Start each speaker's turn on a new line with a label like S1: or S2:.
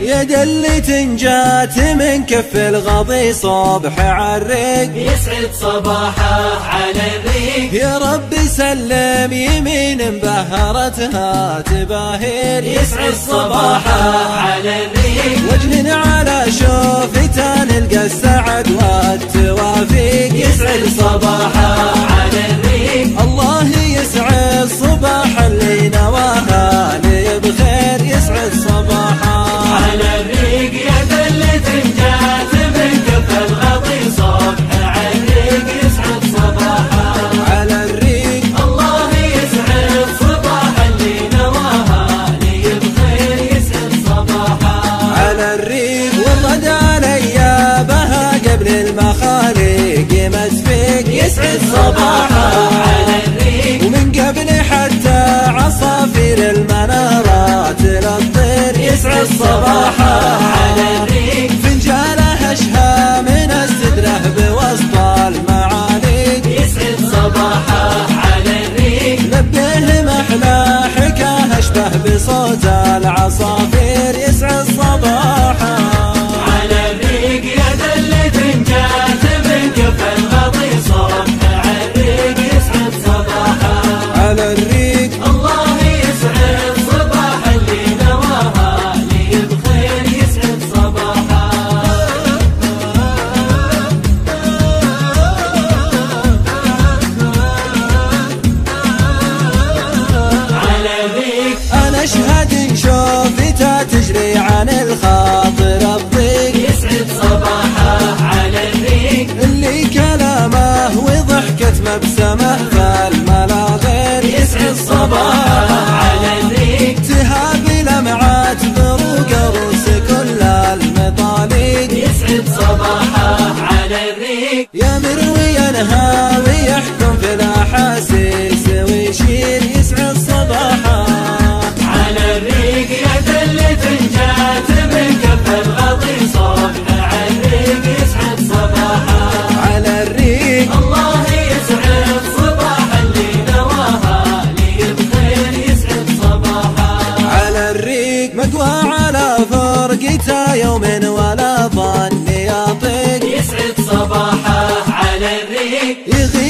S1: مجلة جات من كف الغضي صبح عرق
S2: يسعد صباحه على الريق
S1: يا رب سلم يمين بهرتها تباهر
S2: يسعد صباحه على الريق
S1: وجن على شوفته نلقى السعد والتوافيق
S2: يسعد صباحه على الريق
S1: الله يسعد صباح اللي نواها لي بخير يسعد صباحا
S2: على الريق يا ذلة جات من كف الغطي صبح على الريق يسعد صباحه
S1: على الريق
S2: الله يسعد صباح اللي نواها لي بخير يسعد صباحه
S1: على الريق والرد على ايابها قبل المخالق مسفيق
S2: يسعد صباحه على الريق
S1: ومن قبل حتى عصافير المنارات للطير
S2: يسعد صباحه على الريق
S1: فنجاله اشهى من السدره بوسط المعاليق
S2: يسعد صباحه على الريق
S1: لبيه محلى حكاه اشبه بصوت العصافير يسعد صباحا
S2: على الريق يا دلة جات من كف الغطي صبح على الريق يسعد صباحه
S1: على الريق
S2: الله يسعد صباح اللي نواها لي بخير يسعد صباحه على الريق
S1: انا اشهد شوفتها تجري عن الخاطر الضيق
S2: يسعد صباحه على الريق
S1: اللي كلامه وضحكت مبسمه فالملاغير
S2: يسعد صباحه على الريق
S1: تهاب لمعات بروق عروس كل المطاليق
S2: يسعد صباحه على الريق
S1: يا مروي ينهاوي يحكم في الاحاسيس ويشير يسعد صباحا
S2: على الريق يا دلة جات من كف الغطي صبح على الريق يسعد صباحه
S1: على الريق
S2: الله يسعد صباح اللي نواها لي بخير يسعد صباحه
S1: على الريق مقوى على فرقته يوم ولا ظن يطيق
S2: يسعد صباحه على الريق
S1: يغيب